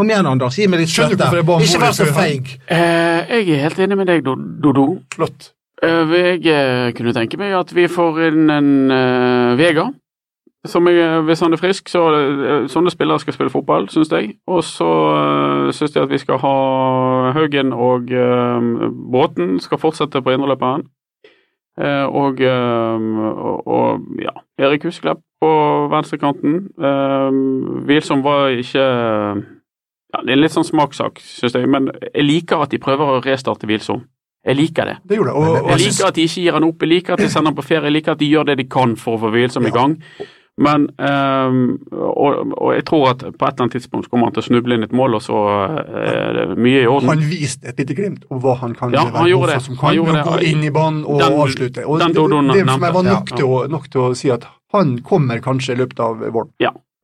[SPEAKER 3] Kom igjen, Anders, gi meg litt
[SPEAKER 4] Skjønner du
[SPEAKER 3] støtte.
[SPEAKER 4] hvorfor jeg ba om
[SPEAKER 3] Ikke vær
[SPEAKER 4] ordet
[SPEAKER 3] så
[SPEAKER 4] før han-
[SPEAKER 3] feig.
[SPEAKER 2] Eh, jeg er helt enig med deg, Do- Dodo.
[SPEAKER 4] Flott.
[SPEAKER 2] Eh, jeg eh, kunne tenke meg at vi får inn en eh, Vega Som jeg, hvis han er frisk, så eh, sånne spillere skal spille fotball, syns jeg. Og så uh, syns jeg at vi skal ha Haugen og eh, Båten skal fortsette på indreløperen. Uh, og, eh, og, og ja, Erik Husklepp på venstrekanten. Uh, Hvilsom var ikke ja, Det er en litt sånn smakssak, syns jeg, men jeg liker at de prøver å restarte Hvilsom. Jeg liker det.
[SPEAKER 4] Det gjorde jeg. Og, og
[SPEAKER 2] Jeg
[SPEAKER 4] jeg synes,
[SPEAKER 2] liker at de ikke gir han opp, jeg liker at de sender han på ferie, jeg liker at de gjør det de kan for å få hvilsom i
[SPEAKER 4] Ja.
[SPEAKER 2] gang. Men ehm, og, og jeg tror at på et eller annet tidspunkt så kommer han til å snuble inn et mål, og så eh, er det mye i orden.
[SPEAKER 4] han viste et lite glimt om hva han kan
[SPEAKER 2] Ja, han gjorde
[SPEAKER 4] god for
[SPEAKER 2] det.
[SPEAKER 4] som
[SPEAKER 2] Han
[SPEAKER 4] kan
[SPEAKER 2] gjorde
[SPEAKER 4] med å
[SPEAKER 2] det.
[SPEAKER 4] gå inn i banen og
[SPEAKER 2] Den-
[SPEAKER 4] avslutte. Og
[SPEAKER 2] den
[SPEAKER 4] det, det,
[SPEAKER 2] Dodon
[SPEAKER 4] det for meg var
[SPEAKER 2] nevnte.
[SPEAKER 4] nok, til å, nok til å si at han kommer kanskje i løpet av våren.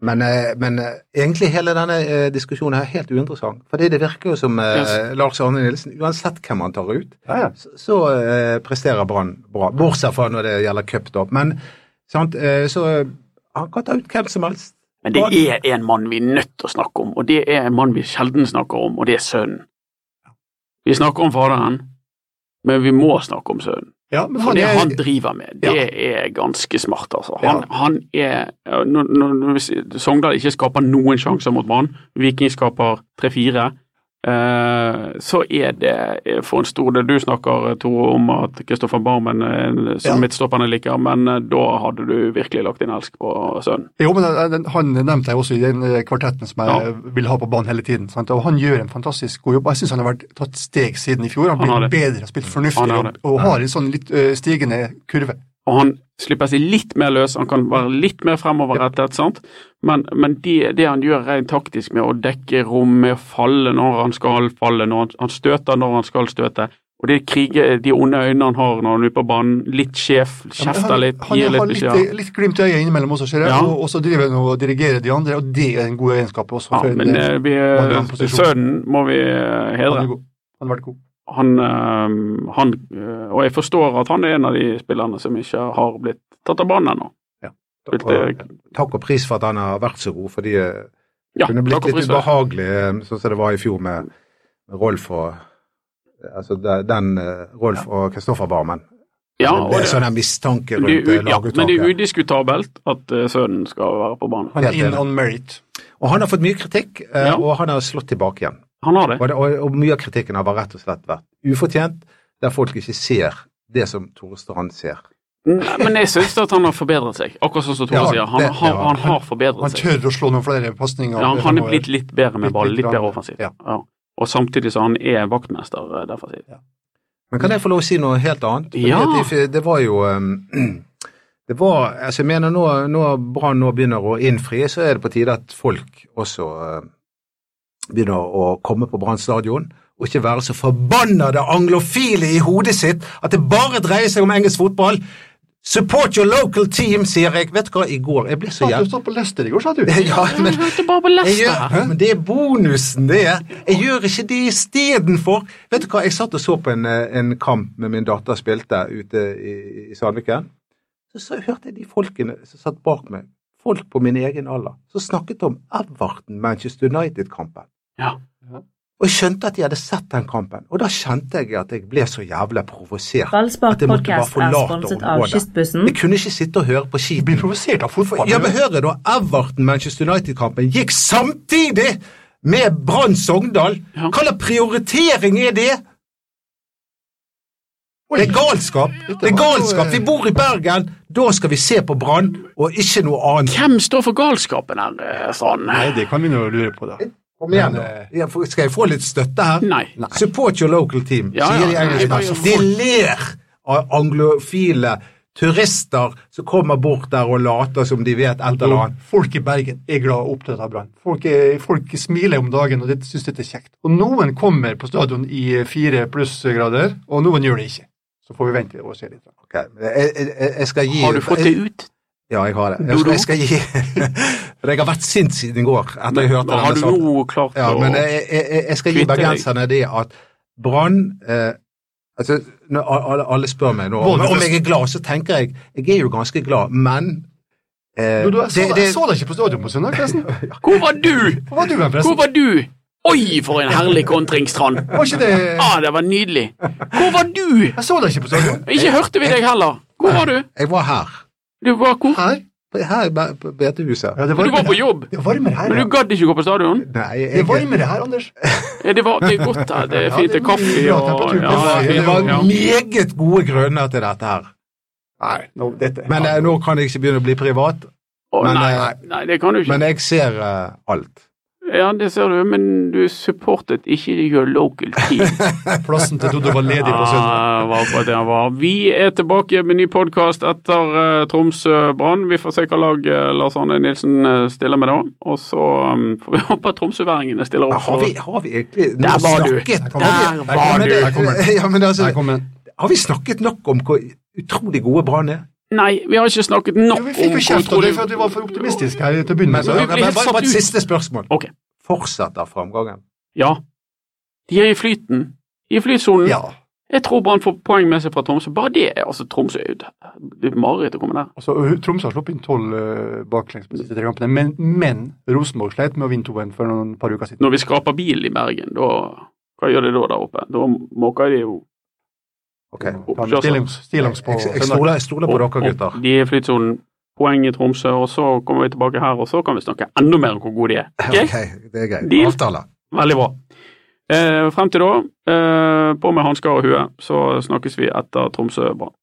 [SPEAKER 3] Men, eh, men eh, egentlig hele denne eh, diskusjonen her er helt uinteressant. Fordi det virker jo som eh,
[SPEAKER 2] Yes.
[SPEAKER 3] Lars Arne Nilsen, uansett hvem han tar ut,
[SPEAKER 4] Ja, ja.
[SPEAKER 3] så, så eh, presterer Brann bra. Bortsett fra når det gjelder cup, da. Men sant, eh, så eh, han kan ta ut hvem som helst.
[SPEAKER 2] Men det er en mann vi er nødt til å snakke om, og det er en mann vi sjelden snakker om, og det er sønnen. Vi snakker om faderen, men vi må snakke om sønnen.
[SPEAKER 4] Ja, men
[SPEAKER 2] For
[SPEAKER 4] han
[SPEAKER 2] det
[SPEAKER 4] er,
[SPEAKER 2] han driver med, det er ganske smart, altså. Han, han er når, når, når Sogndal ikke skaper noen sjanser mot Brann, Viking skaper tre-fire, eh, så er det eh, for en stor del Du snakker, eh, Tore, om at Kristoffer Barmen er en- som
[SPEAKER 4] Ja.
[SPEAKER 2] midtstopperne liker, men eh, da hadde du virkelig lagt din elsk på sønnen.
[SPEAKER 4] jo, men den- den- han nevnte jeg også i den eh, kvartetten som jeg
[SPEAKER 2] Ja.
[SPEAKER 4] vil ha på banen hele tiden. Sant? Og han gjør en fantastisk god jobb. Jeg syns han har vært tatt steg siden i fjor. Han
[SPEAKER 2] Han har det.
[SPEAKER 4] blir bedre, har spilt
[SPEAKER 2] Han
[SPEAKER 4] fornuftig
[SPEAKER 2] har
[SPEAKER 4] og,
[SPEAKER 2] det.
[SPEAKER 4] og har en sånn litt eh, stigende kurve.
[SPEAKER 2] Og han slipper seg litt mer løs, han kan være litt mer fremoverrettet, sant? men, men det, det han gjør rent taktisk med å dekke rom, med å falle når han skal falle, når han, han støter når han skal støte, og det krige, de onde øynene han har når han er ute på banen, litt sjef,
[SPEAKER 4] Ja, men
[SPEAKER 2] kjefter litt,
[SPEAKER 4] han,
[SPEAKER 2] gir
[SPEAKER 4] han har
[SPEAKER 2] litt
[SPEAKER 4] litt, eh,
[SPEAKER 2] beskjed.
[SPEAKER 4] litt glimt i øyet innimellom også, ser jeg,
[SPEAKER 2] Ja.
[SPEAKER 4] og, og så driver han og dirigerer de andre, og det er en god egenskap også.
[SPEAKER 2] Ja,
[SPEAKER 4] for en-
[SPEAKER 2] men eh, vi,
[SPEAKER 4] han er i en posisjon.
[SPEAKER 2] sønnen må vi eh,
[SPEAKER 4] han, er
[SPEAKER 2] hedre.
[SPEAKER 4] god. han har vært god.
[SPEAKER 2] Han, eh, han, eh, og jeg forstår at han er en av de spillerne som ikke har blitt tatt av banen ennå.
[SPEAKER 3] Og,
[SPEAKER 2] Spilte-
[SPEAKER 3] takk og pris for at han har vært så god, fordi eh,
[SPEAKER 2] Ja,
[SPEAKER 3] kunne blitt
[SPEAKER 2] takk og
[SPEAKER 3] litt
[SPEAKER 2] pris for det.
[SPEAKER 3] ubehagelig, eh, sånn som det var i fjor med med Rolf og Altså de- den eh, Rolf og Kristoffer Barmen.
[SPEAKER 2] Ja,
[SPEAKER 3] det
[SPEAKER 2] og
[SPEAKER 3] ble
[SPEAKER 2] det-
[SPEAKER 3] sånn en mistanke
[SPEAKER 2] Men det,
[SPEAKER 3] rundt
[SPEAKER 2] er,
[SPEAKER 3] eh,
[SPEAKER 2] u- ja, men det er
[SPEAKER 3] laguttaket.
[SPEAKER 2] udiskutabelt at eh, sønnen skal være på banen.
[SPEAKER 4] Han er
[SPEAKER 3] Helt
[SPEAKER 4] in
[SPEAKER 3] enig.
[SPEAKER 4] on merit.
[SPEAKER 3] Og han har fått mye kritikk, eh,
[SPEAKER 2] Ja.
[SPEAKER 3] og han har slått tilbake igjen.
[SPEAKER 2] Han har det.
[SPEAKER 3] Og, det, og, og mye av kritikken har bare rett og slett vært ufortjent, der folk ikke ser det som Tore Strand ser.
[SPEAKER 2] Nei, men jeg syns at han har forbedret seg, akkurat sånn som Tore
[SPEAKER 3] Ja,
[SPEAKER 2] sier. Han
[SPEAKER 3] det-
[SPEAKER 2] har,
[SPEAKER 3] ja.
[SPEAKER 2] han har
[SPEAKER 4] Han
[SPEAKER 2] forbedret seg.
[SPEAKER 4] tør å slå noen flere pasninger.
[SPEAKER 2] Altså, Ja, han, han er blitt litt bedre med
[SPEAKER 4] Litt-
[SPEAKER 2] ball,
[SPEAKER 4] litt
[SPEAKER 2] litt bedre
[SPEAKER 4] bedre.
[SPEAKER 2] offensivt.
[SPEAKER 4] Ja.
[SPEAKER 2] Ja. Og samtidig så han er vaktmester eh, defensivt.
[SPEAKER 3] Men kan jeg få lov å si noe helt annet? Fordi
[SPEAKER 2] Ja.
[SPEAKER 3] at det, det var jo ehm, [clears throat] det var, altså jeg mener nå, Når Brann nå begynner å innfri, så er det på tide at folk også eh, begynner å komme på Brann stadion. Og ikke være så forbannede anglofile i hodet sitt at det bare dreier seg om engelsk fotball. Support your local team, sier jeg. Vet du hva, i går Jeg ble så
[SPEAKER 4] Ja, Du
[SPEAKER 3] jævlig
[SPEAKER 4] står på Leicester i går, sa du?
[SPEAKER 3] ja, men,
[SPEAKER 2] Jeg hørte bare på
[SPEAKER 3] Jeg
[SPEAKER 2] Lester
[SPEAKER 3] gjør,
[SPEAKER 2] her.
[SPEAKER 3] men det er bonusen, det. er. Jeg gjør ikke det istedenfor. Vet du hva, jeg satt og så på en, eh, en kamp med min datter spilte ute i, i Sandviken. Så, så hørte jeg de folkene som satt bak meg, folk på min egen alder, som snakket om Everton-Manchester United-kampen.
[SPEAKER 2] Ja.
[SPEAKER 3] Og jeg skjønte at de hadde sett den kampen, og da kjente jeg at jeg ble så jævla provosert. At
[SPEAKER 1] Ballspark
[SPEAKER 3] jeg måtte bare
[SPEAKER 1] podcast er
[SPEAKER 3] forlate
[SPEAKER 1] sponset av
[SPEAKER 3] området.
[SPEAKER 1] Kystbussen.
[SPEAKER 3] Jeg kunne ikke sitte og høre på
[SPEAKER 4] Du
[SPEAKER 3] skiten
[SPEAKER 4] blir provosert av fotball.
[SPEAKER 3] ja, men hør da, Everton-Manchester United-kampen gikk samtidig med Brann Sogndal.
[SPEAKER 2] Ja.
[SPEAKER 3] Hva slags prioritering er det? Det er galskap. Det er galskap. Vi bor i Bergen, da skal vi se på Brann, og ikke noe annet.
[SPEAKER 2] Hvem står for galskapen her, eh, Strand?
[SPEAKER 4] Nei, det kan vi nå lure på, da.
[SPEAKER 3] Kom igjen, da. Ja, for- Skal jeg få litt støtte her?
[SPEAKER 2] Nei.
[SPEAKER 3] Support your local team,
[SPEAKER 2] Ja, ja,
[SPEAKER 3] sier de
[SPEAKER 2] ja,
[SPEAKER 3] engelskmennene.
[SPEAKER 2] jeg
[SPEAKER 3] De
[SPEAKER 2] bare-
[SPEAKER 3] ler av anglofile turister som kommer bort der og later som de vet et eller annet.
[SPEAKER 4] Folk i Bergen er glad og opptatt av Brann. Folk, er- folk smiler om dagen og det- syns dette er kjekt. Og noen kommer på stadion i fire plussgrader, og noen gjør det ikke. Så får vi vente og se litt.
[SPEAKER 3] Ok, Jeg, jeg, jeg skal gi
[SPEAKER 2] Har du fått det ut?
[SPEAKER 3] Ja, jeg har det.
[SPEAKER 2] Dodo?
[SPEAKER 3] Jeg skal, jeg skal gi [laughs] For jeg har vært sint siden i går. etter jeg hørte
[SPEAKER 2] Men har
[SPEAKER 3] denne
[SPEAKER 2] du
[SPEAKER 3] saken.
[SPEAKER 2] nå klart
[SPEAKER 3] Ja,
[SPEAKER 2] å
[SPEAKER 3] men jeg, jeg, jeg- jeg skal gi
[SPEAKER 2] Kvitte deg.
[SPEAKER 3] bergenserne det at Brann eh, altså, når alle, alle spør meg nå om,
[SPEAKER 4] Både
[SPEAKER 3] om
[SPEAKER 4] først-
[SPEAKER 3] jeg er glad, så tenker jeg Jeg er jo ganske glad, men eh,
[SPEAKER 4] Du, du, jeg, så,
[SPEAKER 3] det-
[SPEAKER 4] deg- jeg
[SPEAKER 3] det-
[SPEAKER 4] så deg ikke på stadion på søndag,
[SPEAKER 3] [laughs]
[SPEAKER 4] forresten.
[SPEAKER 2] Hvor var du?
[SPEAKER 4] Hvor var du
[SPEAKER 2] Hvor
[SPEAKER 4] hen, forresten?
[SPEAKER 2] var du? Oi, for en herlig kontring, Strand.
[SPEAKER 4] Var ikke det
[SPEAKER 2] Ah, det var nydelig. Hvor var du?
[SPEAKER 4] Jeg så deg ikke på stadion.
[SPEAKER 2] Ikke hørte vi deg heller. Hvor var du?
[SPEAKER 3] Jeg var her.
[SPEAKER 2] Du var hvor?
[SPEAKER 4] Her?
[SPEAKER 3] på- her i Be- på Betehuset.
[SPEAKER 4] Ja, det,
[SPEAKER 2] Men du var på jobb,
[SPEAKER 4] det er varmere her.
[SPEAKER 2] men
[SPEAKER 4] ja.
[SPEAKER 2] du gadd ikke gå på stadion?
[SPEAKER 3] Nei,
[SPEAKER 4] Det
[SPEAKER 3] jeg,
[SPEAKER 4] er varmere her, Anders.
[SPEAKER 2] Ja, Det, var, det er godt her, det er fint. Det er kaffe
[SPEAKER 4] Ja,
[SPEAKER 2] og
[SPEAKER 4] temperaturen.
[SPEAKER 2] ja,
[SPEAKER 3] det var,
[SPEAKER 2] det er
[SPEAKER 3] det
[SPEAKER 2] fint,
[SPEAKER 3] var
[SPEAKER 2] ja.
[SPEAKER 3] meget gode grunner til dette her.
[SPEAKER 4] Nei, nå- dette.
[SPEAKER 3] Men eh, nå kan jeg ikke begynne å bli privat,
[SPEAKER 2] Å,
[SPEAKER 3] Men,
[SPEAKER 2] Nei,
[SPEAKER 3] eh,
[SPEAKER 2] nei, det kan du ikke.
[SPEAKER 3] men jeg ser eh, alt.
[SPEAKER 2] Ja, det ser du, men du supportet ikke your local
[SPEAKER 3] [laughs]
[SPEAKER 2] team.
[SPEAKER 4] Plassen til Dodo var ledig på søndag.
[SPEAKER 2] Ah, var akkurat det han var. Vi er tilbake med ny podkast etter eh, Tromsø-Brann. Vi får se hva lag eh, Lars Arne Nilsen eh, stiller med da. Og så um, får vi håpe at tromsøværingene stiller
[SPEAKER 3] Ja,
[SPEAKER 2] opp.
[SPEAKER 3] Har vi, har vi egentlig nå
[SPEAKER 2] Der var du.
[SPEAKER 3] snakket
[SPEAKER 4] Der var
[SPEAKER 3] men
[SPEAKER 4] du. Der kom
[SPEAKER 3] det,
[SPEAKER 4] den.
[SPEAKER 3] [laughs] ja, men altså,
[SPEAKER 4] Her kommer den.
[SPEAKER 3] har vi snakket nok om hvor utrolig gode Brann er?
[SPEAKER 2] Nei, vi har ikke snakket nok
[SPEAKER 4] Jo, Vi fikk
[SPEAKER 2] om
[SPEAKER 4] jo kjeft av deg for at vi var for optimistiske her til å begynne
[SPEAKER 3] Men,
[SPEAKER 4] med. så-
[SPEAKER 2] vi
[SPEAKER 3] men,
[SPEAKER 2] blir
[SPEAKER 3] men,
[SPEAKER 2] helt
[SPEAKER 3] bare,
[SPEAKER 2] satt
[SPEAKER 3] bare et
[SPEAKER 2] ut.
[SPEAKER 3] siste spørsmål.
[SPEAKER 2] Ok.
[SPEAKER 3] Fortsetter framgangen?
[SPEAKER 2] Ja. De er i flyten. I flytsonen.
[SPEAKER 4] Ja.
[SPEAKER 2] Jeg tror Brann får poeng med seg fra Tromsø. Bare det er altså Tromsø er jo Det er mareritt å komme der.
[SPEAKER 4] Altså, Tromsø har sluppet inn tolv eh, baklengs på de siste tre kampene, men, men Rosenborg sleit med å vinne 2-1 for noen par uker siden.
[SPEAKER 2] Når vi skraper bil i Bergen, da Hva gjør det da der oppe? Da måker de jo
[SPEAKER 3] Ok.
[SPEAKER 4] Ta med Stillongs stillongs på
[SPEAKER 3] Jeg, jeg,
[SPEAKER 4] søndag.
[SPEAKER 3] stoler, jeg stoler på dere, gutter.
[SPEAKER 2] De er i flytsonen. Poeng i Tromsø, og så kommer vi tilbake her, og så kan vi snakke enda mer om hvor gode de
[SPEAKER 4] [laughs]
[SPEAKER 2] er. Ok?
[SPEAKER 3] Ok, det er greit.
[SPEAKER 2] Deal.
[SPEAKER 3] Avtale.
[SPEAKER 2] Veldig bra. Eh, frem til da, eh, på med hansker og hue, så snakkes vi etter Tromsø-Brann.